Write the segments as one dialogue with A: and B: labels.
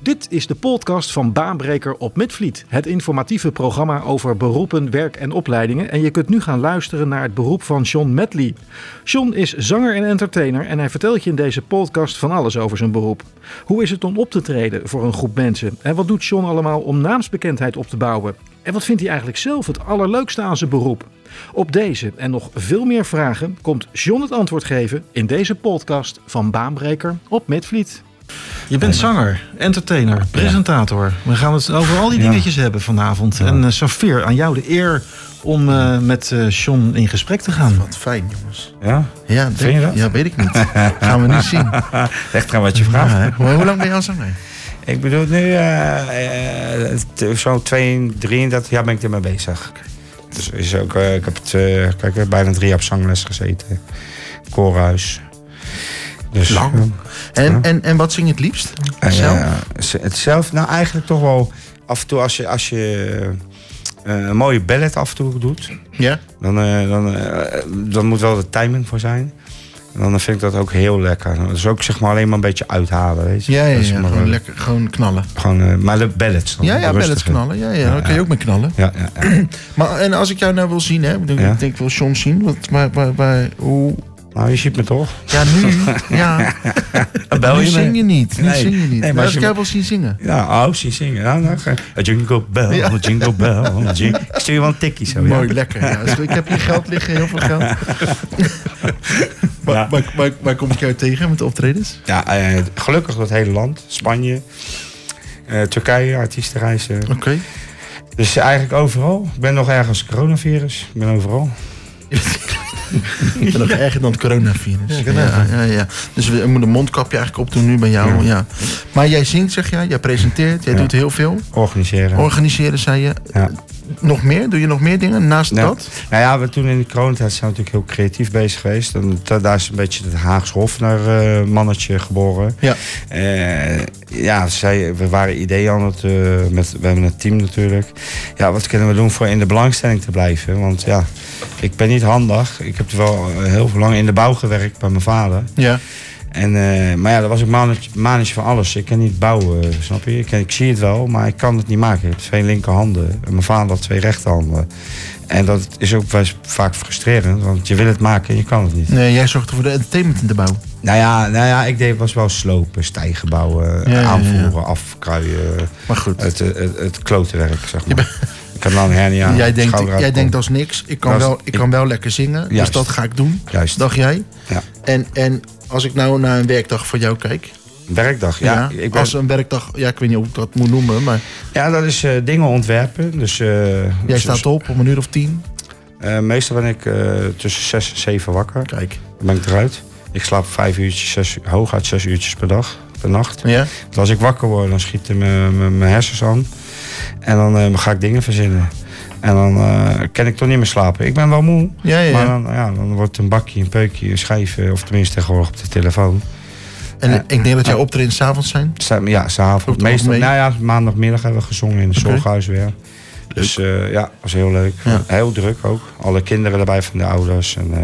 A: Dit is de podcast van Baanbreker op Midvliet. Het informatieve programma over beroepen, werk en opleidingen. En je kunt nu gaan luisteren naar het beroep van John Medley. John is zanger en entertainer en hij vertelt je in deze podcast van alles over zijn beroep. Hoe is het om op te treden voor een groep mensen? En wat doet John allemaal om naamsbekendheid op te bouwen? En wat vindt hij eigenlijk zelf het allerleukste aan zijn beroep? Op deze en nog veel meer vragen komt John het antwoord geven in deze podcast van Baanbreker op Midvliet. Je bent zanger, entertainer, presentator. We gaan het over al die dingetjes hebben vanavond. En eh, Safir, aan jou de eer om eh, met eh John in gesprek te gaan.
B: Wat fijn, jongens.
C: Ja,
B: Ja, denk,
C: Vind je dat?
B: Ja, weet ik niet. Gaan we niet zien.
C: ligt eraan wat je vraagt.
B: Ja, hè. Hoe, hoe lang ben je al zanger?
C: Ik bedoel, nu eh, eh, t- zo'n 2, 33 jaar ben ik ermee bezig. Dus is ook, eh, ik heb het, eh, kijk, ik heb bijna drie jaar op zangles gezeten. Koorhuis. Dus,
B: Lang. En, en, en wat zing je het liefst?
C: eh,
B: Zelf?
C: eh, z- het zelf, nou eigenlijk toch wel af en toe als je, als je eh, een mooie ballet af en toe doet.
B: Ja?
C: Dan, eh, dan, eh, dan moet wel de timing voor zijn. En dan vind ik dat ook heel lekker. Dat is ook zeg maar alleen maar een beetje uithalen, weet je.
B: Ja, ja,
C: Dat
B: ja,
C: is maar
B: gewoon
C: wel-
B: lekker gewoon knallen.
C: Gewoon, eh, maar de ballads. dan,
B: Ja,
C: de
B: ja,
C: rustige.
B: bellets knallen. Ja, ja, daar kun je ook mee knallen.
C: Ja, ja, ja.
B: Maar en als ik jou nou wil zien, hè? Ik denk,
C: Ja.
B: ik denk, ik wil John zien. Wat, maar, maar, maar, hoe?
C: Nou, je ziet me toch?
B: Ja, nu. Ja. nu zing Ah, je niet. Nu
C: Nee.
B: zing je niet.
C: Nee, maar
B: maar
C: als
B: als
C: je
B: ik jou wil zien zingen.
C: Ja, oh, zie zingen. Ja, nou, ga- Jingle bell,
B: Ja.
C: jingle bell. jing- Ik stuur je wel een tikkie zo.
B: Mooi,
C: Ja.
B: lekker. Ja. Dus ik heb hier geld liggen, heel veel geld.
C: Ja.
B: Maar, maar, maar, maar kom ik jou tegen met de optredens?
C: Ja, eh, gelukkig dat hele land. Spanje, eh, Turkije, artiestenreizen.
B: Oké.
C: Dus eigenlijk overal. Ik ben nog ergens coronavirus. Ik ben overal.
B: Ik ben nog erger dan het coronavirus. Ja, ja, ja, Dus we moeten een mondkapje eigenlijk opdoen nu bij jou. Ja. Maar jij zingt, zeg jij. Jij presenteert. Jij doet heel veel.
C: Organiseren.
B: Organiseren, zei je.
C: Ja.
B: Nog meer? Doe je nog meer dingen naast
C: Nou,
B: dat?
C: Nou ja, we toen in de coronatijd zijn we natuurlijk heel creatief bezig geweest. En da- daar is een beetje het Haags Hofner eh, mannetje geboren.
B: Ja.
C: Eh, ja, zij, we waren ideeën aan het... eh, met, we hebben een team natuurlijk. Ja, wat kunnen we doen voor in de belangstelling te blijven? Want ja, ik ben niet handig. Ik heb wel eh, heel lang in de bouw gewerkt bij mijn vader.
B: Ja.
C: En, eh, maar ja, dat was ook manetje, manetje van alles. Ik kan niet bouwen, snap je? Ik, kan- ik zie het wel, maar ik kan het niet maken. Ik heb twee linkerhanden. En mijn vader had twee rechterhanden. En dat is ook best vaak frustrerend, want je wil het maken en je kan het niet.
B: Nee, jij zorgt voor de entertainment in de bouw.
C: Nou ja, nou ja ik deed was wel slopen, stijgen bouwen,
B: Ja, ja,
C: aanvoeren, afkruien.
B: Maar goed.
C: Het, het, het, klotenwerk, zeg maar. Ik heb nou een hernia.
B: jij denkt,
C: schouder
B: jij
C: uitkomt.
B: denkt dat is niks. Ik kan,
C: Dat is-
B: wel, ik
C: ik-
B: kan wel lekker zingen. Dus
C: Juist.
B: dat ga ik doen.
C: Juist.
B: Dacht jij?
C: Ja.
B: En, en als ik nou naar een werkdag van jou kijk.
C: Werkdag, ja.
B: Ja,
C: ik ben-
B: Als een werkdag. Ja, ik weet niet hoe ik dat moet noemen. Maar
C: ja, dat is eh, dingen ontwerpen. Dus, eh,
B: jij
C: dus-
B: staat op om een uur of tien.
C: eh, meestal ben ik eh, tussen zes en zeven wakker.
B: Kijk.
C: Dan ben ik eruit. Ik slaap vijf uurtjes, zes, uur- hooguit zes uurtjes per dag, per nacht.
B: Ja?
C: Want als ik wakker word, dan schieten mijn mijn- mijn hersens aan. En dan eh, ga ik dingen verzinnen. En dan eh, kan ik toch niet meer slapen. Ik ben wel moe.
B: Ja, ja, ja.
C: Maar dan, ja, dan wordt het een bakje, een peukje, een schijfje. Of tenminste tegenwoordig op de telefoon.
B: En ik denk dat jouw optredens s'avonds zijn.
C: Sta- Ja,
B: Ook
C: s'avonds.
B: toch
C: Meestal,
B: mee?
C: nou ja, maandagmiddag hebben we gezongen in het
B: Oké.
C: zorghuis weer. Dus eh, ja, was heel leuk.
B: Ja.
C: Heel druk ook. Alle kinderen erbij van de ouders. En, eh,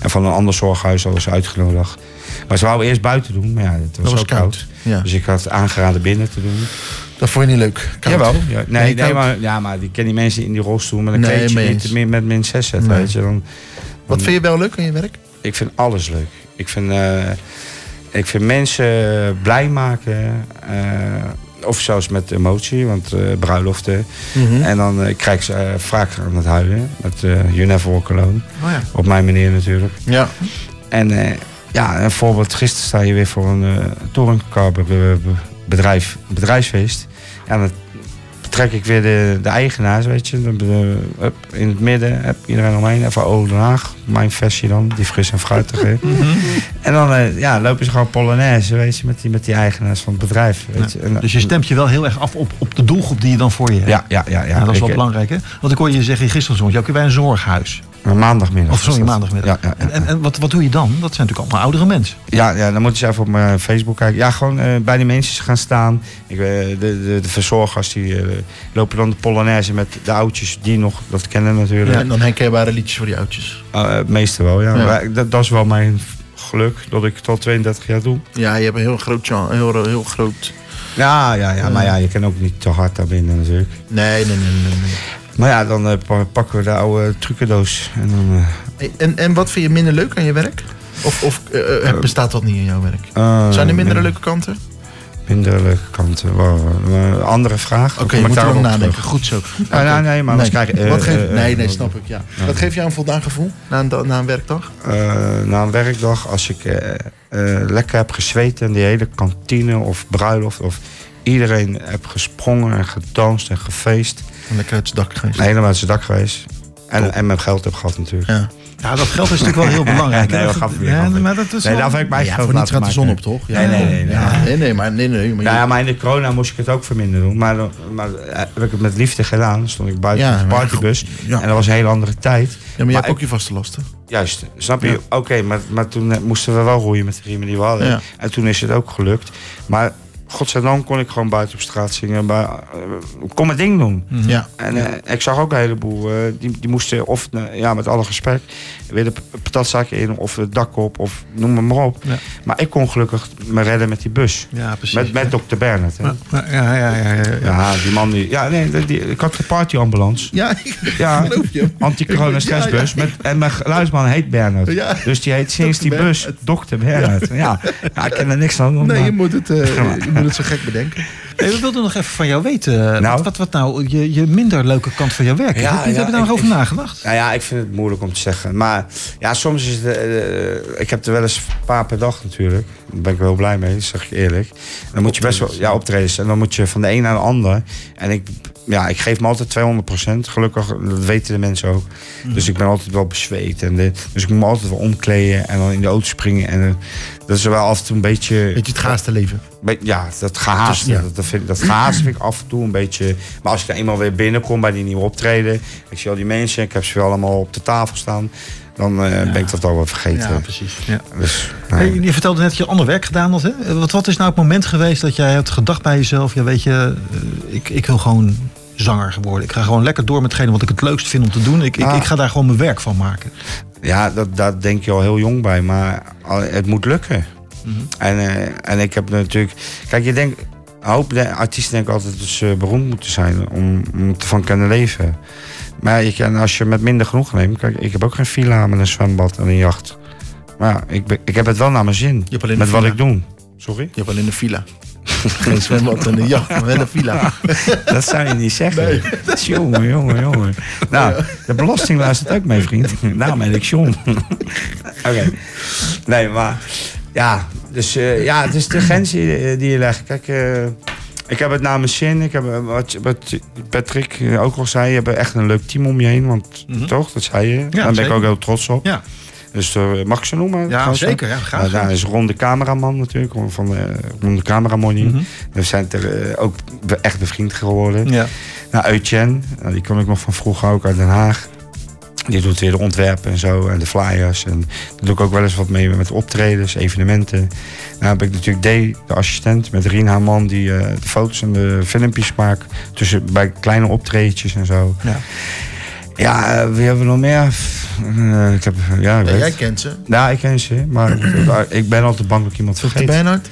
C: en van een ander zorghuis hadden ze uitgenodigd. Maar ze wouden eerst buiten doen, maar ja, het was,
B: Dat was
C: ook
B: koud.
C: koud.
B: Ja.
C: Dus ik had aangeraden binnen te doen.
B: Dat vond je niet leuk. Koud.
C: Jawel. Ja, nee,
B: Nee,
C: nee,
B: koud.
C: maar, ja, maar ik ken die mensen in die rolstoel met een
B: Nee,
C: kleedje
B: mee
C: niet
B: eens.
C: meer met min 6 zetten.
B: Nee.
C: Weet je, dan,
B: Wat vind je wel leuk aan je werk?
C: ik vind alles leuk. Ik vind, eh, ik vind mensen blij maken. eh, of zelfs met emotie, want eh, bruiloften.
B: Mhm.
C: En dan eh, krijg ik ze eh, vaak aan het huilen. Met eh You Never Walk Alone.
B: Oh ja.
C: Op mijn manier natuurlijk.
B: Ja.
C: En eh, ja, een voorbeeld. Gisteren sta je weer voor een eh touringcar be- be- bedrijf, bedrijfsfeest. Ja, dan trek ik weer de, de eigenaars, weet je. Dan, eh, hup, in het midden, hup, iedereen omheen. Even Oude Den Haag, mijn versie dan. Die fris en fruitige.
D: Mhm.
C: en dan eh, ja, lopen ze gewoon polonaise, weet je. Met die, met die eigenaars van het bedrijf, weet je. En,
D: Dus je stemt je wel heel erg af op, op de doelgroep die je dan voor je hebt.
C: ja, ja, ja, ja.
D: Ja, dat is
C: Ik-
D: wel belangrijk, hè? Want ik hoorde je zeggen gisteren zondag, jij bij een zorghuis.
C: Maar Maandagmiddag.
D: Of Oh, sorry,
C: is dat.
D: maandagmiddag.
C: Ja, ja, ja.
D: En, en, en wat, wat doe je dan? Dat zijn natuurlijk allemaal oudere mensen.
C: Ja, ja, dan moet je eens even op mijn Facebook kijken. Ja, gewoon eh, bij die mensen gaan staan. Ik, eh, de, de, de verzorgers die eh, lopen dan de polonaise met de oudjes die nog dat kennen natuurlijk.
B: En dan herkenbare liedjes voor die oudjes.
C: Eh, het meeste wel, ja.
B: Ja.
C: Maar eh, dat, dat is wel mijn geluk dat ik het al 32 jaar doe.
B: Ja, je hebt een heel groot, genre, heel, heel groot
C: Ja, ja, ja. Maar ja, je kan ook niet te hard daarbinnen natuurlijk.
B: Nee, nee, nee, nee. nee.
C: Maar ja, dan eh, pa- pakken we de oude trucendoos. En dan, eh,
B: Hey, En, en wat vind je minder leuk aan je werk? Of, of eh, eh, bestaat dat niet in jouw werk?
C: eh,
B: Zijn er minder
C: min-
B: leuke kanten?
C: Minder leuke kanten. Wow, eh, andere vraag.
B: Oké,
C: Kom
B: je
C: ik
B: moet
C: daarop
B: erom
C: terug?
B: nadenken. Goed zo. Eh, nou,
C: Ah, nee, nee, maar anders krijg je... eh,
B: Wat geeft-
C: eh,
B: nee, nee,
C: eh,
B: snap ik. Ja. Wat geeft jou een voldaan gevoel na een, da- na een werkdag?
C: eh, na een werkdag, als ik eh, eh, lekker heb gezweet en die hele kantine of bruiloft of iedereen heb gesprongen en gedanst en gefeest.
B: Lekker uit het dak geweest.
C: Helemaal uit zijn dak geweest. En, en mijn geld heb gehad natuurlijk.
B: Ja.
D: Ja, dat geld is natuurlijk wel heel belangrijk.
C: Nee,
D: hè?
C: we gaan weer,
D: ja,
C: gaan weer.
D: maar dat is
C: Nee,
D: wel-
C: daar heb ik mij
B: ja,
C: geld
B: voor niets
C: laten
B: gaat de zon op,
C: maken.
B: toch?
C: Nee, nee, nee, nee.
B: Ja, nee, nee, maar, nee, nee, maar
C: Nou
B: je-
C: ja, maar in de corona moest ik het ook verminderen doen. Maar, dan- maar eh, heb ik het met liefde gedaan. Dan stond ik buiten
B: Ja,
C: op de
B: maar-
C: partybus.
B: ja.
C: En dat was een hele andere tijd.
B: Ja, maar je hebt
C: ik-
B: ook je vaste lasten.
C: Juist, snap je?
B: Ja.
C: Oké, maar, maar toen eh, moesten we wel roeien met de riemen die we hadden.
B: Ja.
C: En toen is het ook gelukt. Maar godzijdank kon ik gewoon buiten op straat zingen. Maar, eh, ik kon mijn ding doen.
A: Mhm.
B: Ja.
C: En eh, ik zag ook een heleboel. eh, die, die moesten of, eh, ja, met alle respect, weer de p- patatzaak in of het dak op of noem het maar op.
A: Ja.
C: Maar ik kon gelukkig me redden met die bus.
A: Ja, precies.
C: Met, met dokter Bernhard. Hè?
A: ja, ja, ja, ja, ja, ja.
C: Ja, die man die... Ja, nee, die- die- ik had de partyambulance.
B: Ja, ik
C: Ja,
B: geloof je.
C: anti-corona stressbus. Met, en mijn geluidsman heet Bernhard.
B: Ja.
C: Dus die heet sinds die
B: Dokter
C: bus Dokter Bernhard. Ja. ja, ik ken er niks aan.
B: Nee, je
C: maar-
B: moet het, eh, je moet het zo gek bedenken.
D: Hey, we wilden nog even van jou
C: Nou?
D: weten. Wat, wat, wat nou je, je minder leuke kant van jouw werk? is.
C: Ja,
D: heb je,
C: ja,
D: heb je daar nog
C: ik-
D: over nagedacht?
C: Nou ja, ik vind het moeilijk om te zeggen. Maar ja, soms is het... eh, ik heb er wel eens een paar per dag natuurlijk. Daar ben ik wel blij mee, zeg ik eerlijk. Dan moet je best wel... Ja, optredens. En dan moet je van de een naar de ander. En ik... Ja, ik geef me altijd 200%. Gelukkig, dat weten de mensen ook. Dus ik ben altijd wel bezweet. En dit. dus ik moet me altijd wel omkleden en dan in de auto springen. En eh, dat is wel af en toe een beetje...
B: Weet je, het gaaste leven.
C: Be- Ja, dat gehaast.
B: Dus, ja.
C: Dat, dat, vind, dat gehaast vind ik af en toe een beetje. Maar als ik er eenmaal weer binnenkom bij die nieuwe optreden. Ik zie al die mensen, ik heb ze wel allemaal op de tafel staan. Dan eh, ben ik dat al wel vergeten.
A: Ja, precies. Ja.
C: Dus, nee.
D: Hey, je vertelde net dat je ander werk gedaan had. Hè? Wat, wat is nou het moment geweest dat jij hebt gedacht bij jezelf... Ja, weet je, eh, ik, ik wil gewoon zanger geworden. Ik ga gewoon lekker door met hetgene wat ik het leukst vind om te doen. Ik, ik,
C: Ah.
D: ik ga daar gewoon mijn werk van maken.
C: Ja, dat, daar denk je al heel jong bij, maar al- het moet lukken.
B: Mhm.
C: En, eh, en ik heb natuurlijk. Kijk, je denkt. Een hoop de- artiesten denken altijd dat ze beroemd moeten zijn om, om ervan te kunnen leven. Maar je kan, als je met minder genoeg neemt. Kijk, ik heb ook geen villa met een zwembad en een jacht. Maar ja, ik, be- ik heb het wel naar mijn zin.
B: hebt alleen
C: met
B: een
C: wat
B: villa.
C: ik doe. Sorry?
B: Je hebt alleen een villa. Geen zwembad en een jacht, maar wel een villa.
C: Dat zou je niet zeggen. Dat is jongen, jongen, jongen. Nou, de belasting luistert ook mee, vriend. Daarom ben ik John. Oké. Nee, maar... Ja, dus eh, ja, het is de grens die, die je legt. Kijk, eh, ik heb het naar mijn zin. Ik heb, eh, wat, wat Patrick eh, ook al zei, je hebt echt een leuk team om je heen. Want
D: Mhm.
C: toch, dat zei je. Daar ben
D: zeker.
C: ik ook heel trots op.
D: Ja.
C: Dus eh, mag ik ze noemen?
D: Ja,
C: Trouwens,
D: zeker. Ja, graag.
C: nou, daar is Ron de cameraman natuurlijk, Ron van de, Ron de cameramonium.
D: Mhm.
C: We zijn er eh, ook be- echt bevriend geworden.
D: Ja.
C: Nou, Eutjen, nou, die kwam ik nog van vroeger ook uit Den Haag. Die doet weer de ontwerpen en zo en de flyers. En daar doe ik ook wel eens wat mee met optredens, evenementen. Nou heb ik natuurlijk D, de assistent, met Rien haar man... die eh, de foto's en de filmpjes maakt tussen, bij kleine optreetjes en zo.
D: Ja.
C: Ja, eh, wie hebben we nog meer? Pff, eh, ik heb, ja, ik
B: Ja,
C: weet
B: jij kent ze.
C: nou, ik ken ze, maar ik ben altijd bang dat ik iemand
B: Dr.
C: vergeet.
B: Bernhard.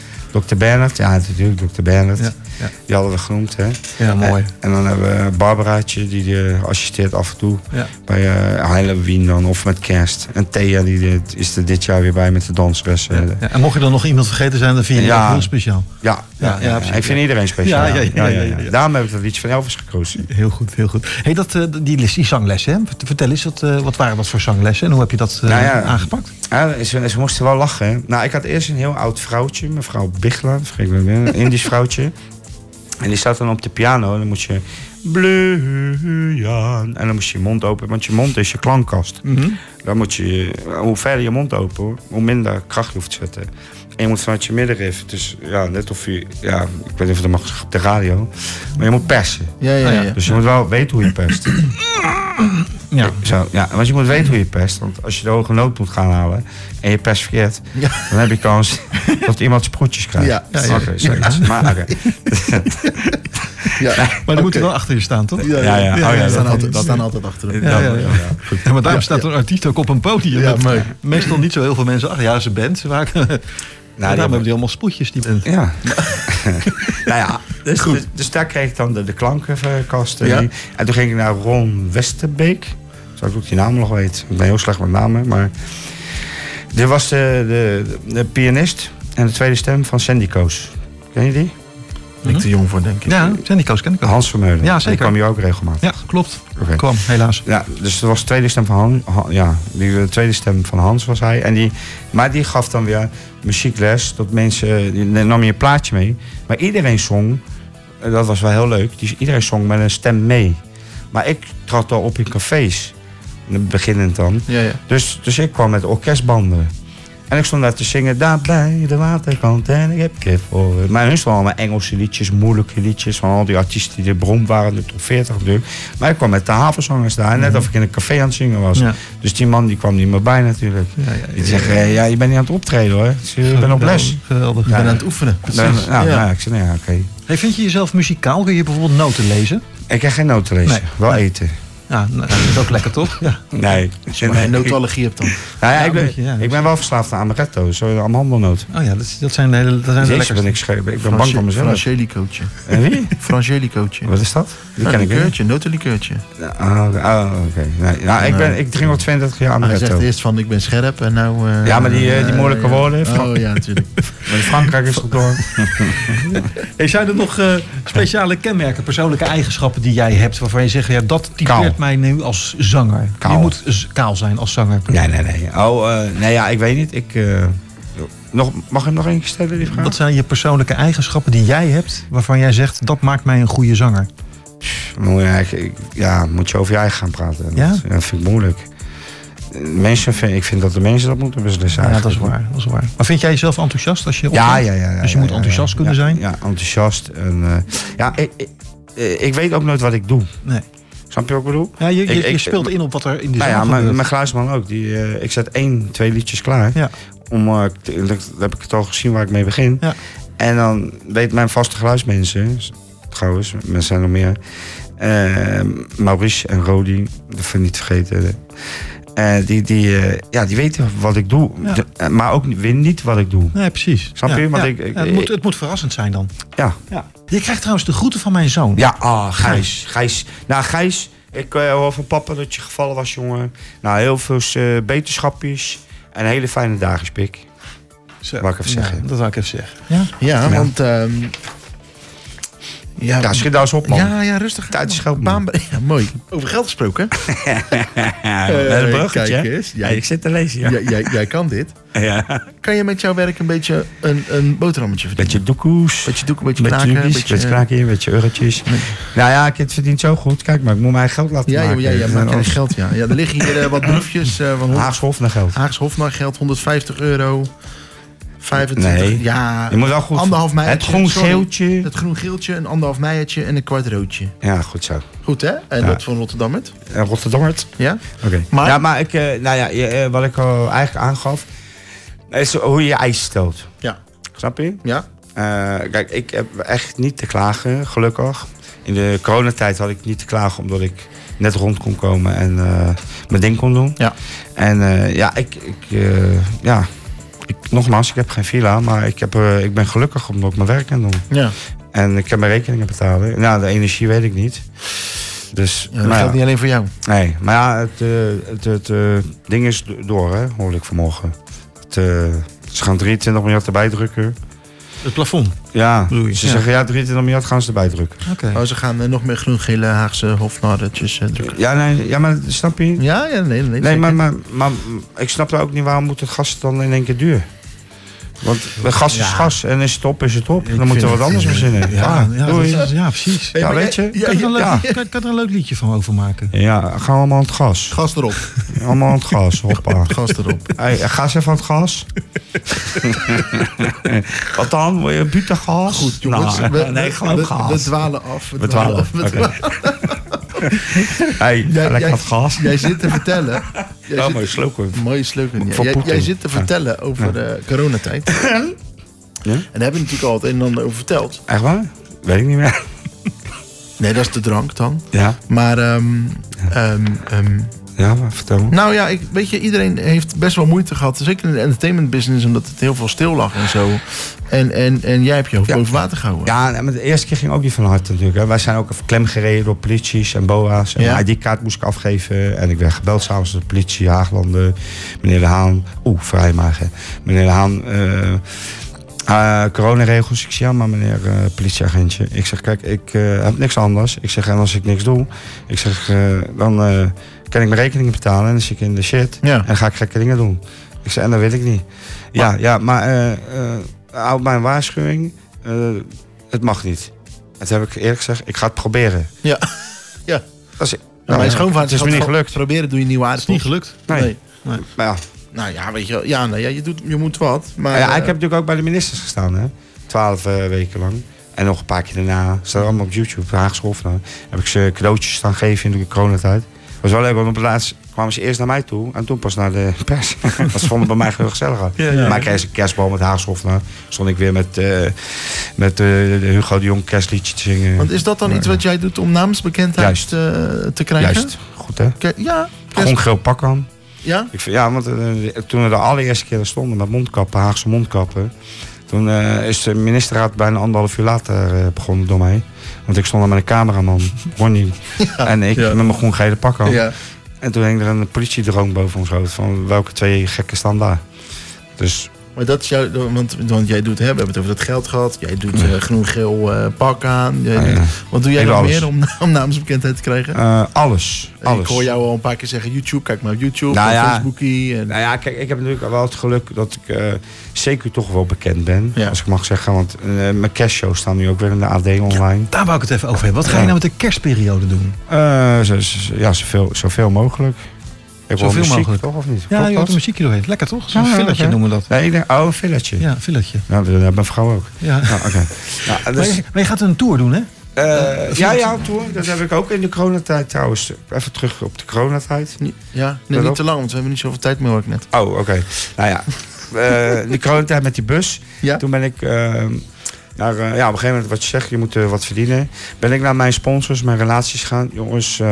C: Dr. Bernhard, ja natuurlijk, Dr. Bernhard.
D: Ja, ja.
C: Die hadden we genoemd, hè.
D: Ja, mooi.
C: En dan hebben we Barbaraatje, die, eh, assisteert af en toe
D: Ja.
C: bij eh Heile Wien dan, of met kerst. En Thea, die eh, is er dit jaar weer bij met de dansres. eh.
D: Ja, en mocht je dan nog iemand vergeten zijn, dan vind je
C: Ja.
D: dat heel speciaal.
C: Ja,
D: Ja, ja, precies,
C: ik vind
D: ja.
C: iedereen speciaal.
D: Ja, ja, ja, ja, ja, ja.
C: Daarom heb ik dat liedje van Elvis gekozen.
D: Heel goed, heel goed. Hey, dat, eh, die, les- die zanglessen, hè? Vert- vertel eens, wat, eh, wat waren dat voor zanglessen en hoe heb je dat eh,
C: Nou ja.
D: aangepakt?
C: Ja, Ah, ze, ze moesten wel lachen. hè. Nou, ik had eerst een heel oud vrouwtje, mevrouw Bigla, vergeet ik nooit meer, een Indisch vrouwtje. En die zat dan op de piano en dan moest je... Bleujan. En dan moest je je mond open, want je mond is je klankkast. Dan moet je, hoe verder je mond open, hoor, hoe minder kracht je hoeft te zetten. En je moet vanuit je middenrif, dus ja, net of je, ja, ik weet niet of het mag zeggen op de radio, maar je moet persen.
B: Ja, ja, ja.
C: Dus je moet wel weten hoe je perst.
D: Ja.
C: Zo, ja, want je moet weten hoe je pest. Want als je de hoge noot moet gaan halen en je pest verkeerd,
B: Ja.
C: dan heb je kans dat iemand sproetjes krijgt.
B: Ja, ja, ja.
C: Oké, zoiets. Maar oké.
B: ja. ja.
D: Maar dan moet
B: Oké.
D: je wel achter je staan, toch?
B: Ja,
C: Ja, ja. Oh, ja,
B: we
C: dat-
B: staan, altijd, we
D: dat-
B: staan altijd achter hem.
D: Ja, ja, ja.
C: Goed.
D: Ja, maar daarom staat een artiest ook op een podium.
B: Ja,
D: met
B: mooi.
D: meestal niet zo heel veel mensen achter. Ja, ze band. Ze waren, Nou, daarom hebben die allemaal spoedjes. Die...
C: Ja. nou ja, dus, dus, dus daar kreeg ik dan de, de klankenkast. eh,
B: Ja.
C: die. En toen ging ik naar Ron Westerbeek. Zou ik ook die naam nog weten. Ik ben heel slecht met namen. Maar dit was de, de, de pianist en de tweede stem van Sandy Koos. Ken je die?
B: Ik te jong voor, denk ik.
D: Ja, zijn die koos ken ik ook.
C: Hans Vermeulen.
D: Ja, zeker.
C: Die kwam hier ook regelmatig.
D: Ja, klopt.
C: Oké.
D: Kwam, helaas.
C: Ja, dus dat was de tweede stem van Hans. ja, die, de tweede stem van Hans was hij. En die, maar die gaf dan weer muziekles. Dat mensen, die nam je een plaatje mee. Maar iedereen zong, eh, dat was wel heel leuk. Dus iedereen zong met een stem mee. Maar ik trad al op in cafés. Beginnend dan.
B: Ja, ja.
C: Dus, dus ik kwam met orkestbanden. En ik stond daar te zingen, daar bij de waterkant en ik heb kip voor. het." Maar hun stonden allemaal Engelse liedjes, moeilijke liedjes van al die artiesten die er beroemd waren, de top 40 natuurlijk. Maar ik kwam met de havenzangers daar, net of ik in een café aan het zingen was.
D: Mhm. Ja.
C: Dus die man die kwam niet meer bij natuurlijk.
D: Ja, ja,
C: Die zegt, "Eh, ja, je bent niet aan het optreden hoor, Ik zeg, "Ik ben op les.
D: Geweldig.
B: Ik ben aan het oefenen. Precies.
C: Nou, nou,
B: ja.
C: nou, ik zei, nou ja, oké.
D: Hey, vind je jezelf muzikaal? Kun je bijvoorbeeld noten lezen?
C: Ik krijg geen noten lezen,
D: Nee.
C: wel eten.
D: Ja, nou, dat is ook lekker toch? Ja.
C: Nee.
B: Maar
C: Nee,
B: je
C: ik-
B: notallergie hebt dan.
C: Nou ja,
D: Ja,
C: ik,
D: een
C: ben,
D: beetje, ja.
C: ik ben wel verslaafd aan amaretto, zo aan mandelnoot.
D: Oh ja, dat, is- dat zijn de hele, dat zijn de
C: Jezus, ben
D: lekkerste.
C: ik, scherp. ik ben bang voor mezelf.
B: Frangelicootje.
C: En wie?
B: Frangelicootje.
C: Wat is dat? Die
B: Nou,
C: ken ik niet.
B: likeurtje, notenlikeurtje.
C: Ah, oké. Ah, oké. Nee, nou, ik, ben, ik drink al 22 jaar
B: Ah, Hij zegt
C: amaretto.
B: eerst van ik ben scherp en nou... eh,
C: Ja, maar die, eh, die
B: eh,
C: moeilijke
B: ja.
C: woorden, Frank.
B: Oh ja, natuurlijk.
C: Maar in Frankrijk is het door.
D: Hey, zijn er nog eh, speciale kenmerken, persoonlijke eigenschappen die jij hebt... waarvan je zegt, ja, dat typeert
C: Kaal.
D: mij nu als zanger?
C: Kaal.
D: Je moet z- kaal zijn als zanger.
C: Nee, nee, nee. Oh, eh, nee, ja, ik weet niet. Ik, eh, nog, mag ik hem nog eentje stellen, die vraag?
D: Wat zijn je persoonlijke eigenschappen die jij hebt... waarvan jij zegt, dat maakt mij een goede zanger?
C: Moet je, eigenlijk- ik- ja, moet je over je eigen gaan praten.
D: Ja?
C: Dat, dat vind ik moeilijk. Mensen vind, ik vind dat de mensen dat moeten beslissen.
D: Ja, dat is
C: eigenlijk.
D: waar, dat is waar. Maar vind jij jezelf enthousiast als je
C: Ja,
D: optreedt?
C: ja, ja, ja.
D: Dus je
C: ja,
D: moet
C: ja,
D: enthousiast
C: ja.
D: kunnen
C: Ja,
D: zijn?
C: Ja, enthousiast. En, eh, ja, ik, ik, eh, ik weet ook nooit wat ik doe.
D: Nee.
C: Snap je wat ik bedoel?
D: Ja, je, je,
C: Ik-
D: je
C: ik-
D: speelt in op wat er in de
C: Nou
D: zaal
C: ja, mijn,
D: gebeurt.
C: mijn geluidsman ook. Die, eh, ik zet één, twee liedjes klaar.
D: Ja.
C: Om, eh, te- dat heb ik het al gezien waar ik mee begin.
D: Ja.
C: En dan weet mijn vaste geluidsmensen, s- trouwens, mensen zijn er meer. eh, Maurice en Rodi, dat vind ik niet vergeten. Eh, die, die, eh, ja, die weten wat ik doe,
D: Ja.
C: De- eh, maar ook weer niet wat ik doe.
D: Nee, precies.
C: Snap
D: Ja,
C: je? Want
D: ja.
C: ik- ik-
D: Ja, het, moet, het moet verrassend zijn dan.
C: Ja.
D: Ja. Je krijgt trouwens de groeten van mijn zoon.
C: Ja, ah, Gijs. Gijs. Nou, Gijs, ik eh, hoor van papa dat je gevallen was, jongen. Nou, heel veel eh, beterschapjes en hele fijne dagen, Pik.
D: Zo.
C: Wou ik even
D: Ja,
C: zeggen.
D: dat wou ik even zeggen. Ja.
B: Ja,
C: Ja.
B: want... ehm, ja,
C: Ja, schiet daar eens op, man.
B: ja, ja, rustig.
C: Tijd is
B: man.
C: geld, man.
B: Baan- Ja, mooi. Over geld gesproken.
C: Ja,
B: Eh,
C: met een bruggetje.
B: Kijk eens.
C: Ja,
B: Jij,
C: ik zit te lezen, ja.
B: jij, jij, jij kan dit.
C: ja.
B: Kan je met jouw werk een beetje een, een boterhammetje verdienen?
C: Beetje doekoes.
B: Beetje doek, een beetje
C: Beetje
B: knaken.
C: doekies,
B: Een
C: beetje,
B: beetje,
C: kraken, beetje eurotjes. Nou ja, ik het verdient zo goed. Kijk maar, ik moet mijn geld laten
B: ja, ja,
C: maken.
B: ja, ja,
C: En
B: maak jij
C: anders-
B: geld, ja. ja. Er liggen hier eh, wat briefjes eh, van Hond-
C: Haags Hof naar geld.
B: Haags Hofnar geld, 150 euro. 25,
C: Nee.
B: ja,
C: Je moet wel goed...
B: Ah, anderhalf mei.
C: Het groen geeltje.
B: Het groen geeltje, een anderhalf meijetje en een kwart roodje.
C: Ja, goed zo.
B: Goed hè? En
C: Ja.
B: dat van Rotterdammert.
C: En Rotterdammert.
B: Ja?
C: Oké.
B: Maar-
C: Ja, maar ik, eh, nou ja, je, eh, wat ik al eigenlijk aangaf, is hoe je je eisen stelt.
B: Ja.
C: Snap je?
B: Ja?
C: Eh, kijk, ik heb echt niet te klagen, gelukkig. In de coronatijd had ik niet te klagen omdat ik net rond kon komen en eh, mijn ding kon doen.
B: Ja.
C: En eh, ja, ik, ik, eh, ja. Ik, nogmaals, ik heb geen villa, maar ik, heb, eh, ik ben gelukkig omdat ik mijn werk kan doen.
B: Ja.
C: En ik heb mijn rekeningen betalen. Nou, de energie weet ik niet. Dus,
B: ja dat
C: maar ja.
B: geldt niet alleen voor jou.
C: Nee, maar ja, het, eh, het, het eh, ding is do- door, hè, hoorde ik vanmorgen. Het, eh, ze gaan 23 miljard erbij drukken.
D: Het plafond.
C: Ja,
D: Bedoel je?
C: ze
D: Ja.
C: zeggen ja, 23 miljard gaan ze erbij drukken.
D: Oké.
B: Oh, ze gaan eh, nog meer groen-gele Haagse hofnarretjes eh, drukken.
C: Ja, nee, ja maar snap je?
B: Ja, ja, nee, nee.
C: Nee,
B: zeker.
C: maar, maar, maar mm, ik snap daar ook niet waarom moet het gas dan in één keer duur? Want gas is
D: Ja.
C: gas en is het op, is het op.
B: Ik
C: Dan moeten we
B: vind
C: wat anders
B: het-
C: verzinnen.
D: Ja,
C: Ja,
D: ja,
C: doei.
D: dat is- ja, precies.
B: Hey,
C: Ja,
B: maar
C: weet
B: jij-
C: je?
B: jij-
D: Kan ik, er een leuk,
C: ja.
D: kan ik er een leuk liedje van overmaken?
C: Ja, gaan we allemaal aan het gas.
B: Gas erop.
C: Allemaal aan het gas, hoppa.
B: Gas erop.
C: Hey, ga eens even aan het gas. Wat dan? Wil je butagas?
B: Goed, jongens.
C: Nou,
B: we,
C: nee,
B: we-
C: gewoon gas.
B: we dwalen af.
C: We dwalen af,
B: we
C: oké.
B: dwalen-
C: hey,
B: Jij-
C: lekker
B: jij-
C: aan het gas.
B: Jij zit te vertellen. Jij
C: Ja,
B: zit-
C: mooi sloken.
B: Mooie slogan. ja.
C: Van
B: Jij,
C: Poetin.
B: jij zit te vertellen over de coronatijd. En daar hebben we natuurlijk al het een en ander over verteld.
C: Echt waar? Weet ik niet meer.
B: Nee, dat is de drank dan.
C: Ja.
B: Maar ehm, ehm, ehm,
C: Ja, maar vertel.
B: Nou ja, ik, weet je, iedereen heeft best wel moeite gehad. Zeker in de entertainment business, omdat het heel veel stil lag en zo. En, en, en jij hebt je hoofd
C: Ja.
B: boven water gehouden.
C: Ja, nee, maar de eerste keer ging ook niet van harte natuurlijk. Hè. Wij zijn ook even klemgereden door polities en boa's. En
B: Ja.
C: mijn ID-kaart moest ik afgeven. En ik werd gebeld s'avonds door de politie, Haaglanden. Meneer De Haan, oeh, vrijmagen. Meneer De Haan, eh, eh, coronaregels. Ik zeg, ja, maar meneer eh, politieagentje. Ik zeg, kijk, ik eh, heb niks anders. Ik zeg, en als ik niks doe, ik zeg, eh, dan eh, kan ik mijn rekeningen betalen. En dan zit ik in de shit.
B: Ja.
C: En ga ik gekke dingen doen. Ik zei, en dat wil ik niet. ja, ja, maar eh eh, houd mijn waarschuwing. eh, het mag niet. Het heb ik eerlijk gezegd, ik ga het proberen.
B: Ja. Ja.
C: Dat is,
B: Nou, mijn schoonvader
C: Het is me niet
B: had gewoon
C: gelukt.
B: Proberen doe je nieuwe aardappels.
D: niet gelukt.
C: Nee.
B: Nee.
C: Maar ja,
B: Nou ja, weet je wel. Ja, nou, ja je, doet, je moet wat. Maar,
C: ja,
B: eh,
C: ik heb natuurlijk ook bij de ministers gestaan, hè. Twaalf eh, weken lang. En nog een paar keer daarna. Staat allemaal op YouTube, Haagse Hof. Dan heb ik ze cadeautjes staan geven in de coronatijd. Was wel leuk, want op het laatst kwamen ze eerst naar mij toe. En toen pas naar de pers. Want ze vonden het bij mij heel gezellig. uit.
D: Ja, ja.
C: Maar ik kreeg een kerstbal met Haagse Hof. Nou, stond ik weer met, eh, met eh, Hugo de Jong kerstliedje te zingen.
B: Want is dat dan iets wat jij doet om naamsbekendheid eh,
C: Juist.
B: Te, te krijgen?
C: Juist, goed hè.
B: Ke- ja. Kerst-
C: Gewoon geel pak aan.
B: ja.
C: Ik vind, ja, want eh, toen we de allereerste keer er stonden met mondkappen, Haagse mondkappen. Toen eh, is de ministerraad bijna anderhalf uur later eh, begonnen door mij. Want ik stond daar met een cameraman, Ronnie. en ik
B: ja.
C: met mijn groen gele pak aan.
B: Ja.
C: En toen hing er een politiedroom boven ons hoofd. Van welke twee gekken staan daar? Dus
B: Maar dat is jouw... Want, want jij doet... Hè, we hebben het over dat geld gehad. Jij doet eh, groen-geel eh, pak aan. Jij
C: Ah, ja.
B: doet- Wat doe jij
C: Ik doe
B: nog
C: alles.
B: meer om, om naamsbekendheid te krijgen?
C: eh, alles. alles.
B: Ik hoor jou al een paar keer zeggen YouTube. Kijk maar op YouTube,
C: Nou
B: op
C: ja.
B: Facebookie. En...
C: Nou ja, kijk, ik heb natuurlijk wel het geluk dat ik eh, zeker toch wel bekend ben.
B: Ja.
C: Als ik mag zeggen. Want eh, mijn kerstshows staan nu ook weer in de AD online.
D: Daar wou ik het even over hebben. Wat ga je
C: Ja.
D: nou met de kerstperiode doen?
C: Eh, zo, zo- ja, zoveel, zoveel mogelijk. Ik wil
D: Zoveel
C: muziek,
D: mogelijk.
C: toch? Of niet?
D: Ja,
C: Klopt
D: je
C: dat?
D: hoort de muziekje doorheen. Lekker toch? Zo'n
C: Ja, ja,
D: villetje
C: ja.
D: noemen we dat.
C: Nee, ik denk, oh, een filletje.
D: Ja, villetje.
C: Nou, dat heeft mijn vrouw ook.
D: Ja.
C: Nou, oké. nou,
D: Maar,
C: dus,
D: je, maar je gaat een tour doen, hè?
C: eh, ja, ja, toen, dat heb ik ook in de coronatijd trouwens. Even terug op de coronatijd.
B: Ni- Ja, nee,
C: Daarop?
B: niet te lang, want we hebben niet zoveel tijd meer, hoor ik net.
C: Oh, oké. Nou ja, Eh, de coronatijd met die bus.
B: Ja.
C: Toen ben ik eh, naar, eh, ja, op een gegeven moment wat je zegt, je moet eh, wat verdienen. Ben ik naar mijn sponsors, mijn relaties gaan. Jongens, eh,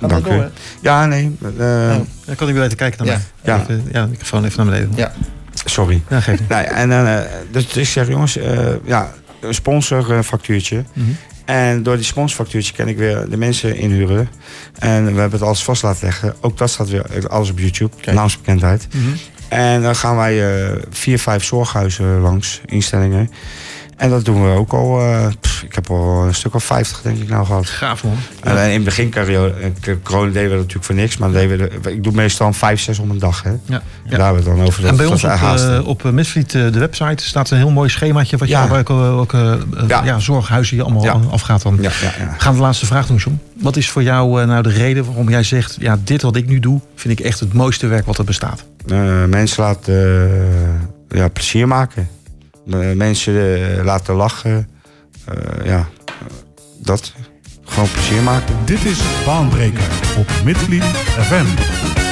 B: Gaat
C: dank
B: dat door,
C: u.
B: hè?
C: Ja, nee. eh,
B: Oh.
D: Dan kan ik weer even kijken naar
B: Ja.
D: mij.
C: Ja.
D: Ik, eh, ja, ik ga gewoon even naar beneden.
B: Ja.
C: Sorry.
D: Ja, geef niet.
C: Nou ja, en, eh, dus ik zeg, jongens, eh, ja, een sponsorfactuurtje.
D: Mhm.
C: En door die sponsorfactuurtje kan ik weer de mensen inhuren. En we hebben het alles vast laten leggen. Ook dat staat weer alles op YouTube,
B: Kijk.
C: naamsbekendheid.
D: Mhm.
C: En dan gaan wij eh, vier, vijf zorghuizen langs, instellingen. En dat doen we ook al. eh, pff, ik heb al een stuk of vijftig, denk ik, nou gehad.
D: Gaaf, man.
C: Alleen in het begin carrière- eh, corona deden we dat natuurlijk voor niks. Maar deden we de- ik doe meestal vijf, zes om een dag. Hè.
D: Ja.
C: En daar hebben we het dan over.
D: En bij
C: dat
D: ons op,
C: was
D: eh,
C: haast.
D: op eh, Misvliet, eh, de website, staat een heel mooi schemaatje... wat je
C: Ja.
D: welke, welke eh, ja.
C: Ja.
D: zorghuizen je allemaal
C: Ja.
D: aan- afgaat dan.
C: ja, ja, ja.
D: We gaan de laatste vraag doen, John. Wat is voor jou eh, nou de reden waarom jij zegt... ja, dit wat ik nu doe, vind ik echt het mooiste werk wat er bestaat?
C: Eh, mensen laten eh, ja, plezier maken. Eh, mensen eh, laten lachen. Eh, ja, eh, dat. Gewoon plezier maken.
E: Dit is Baanbreker op Midvliet FM.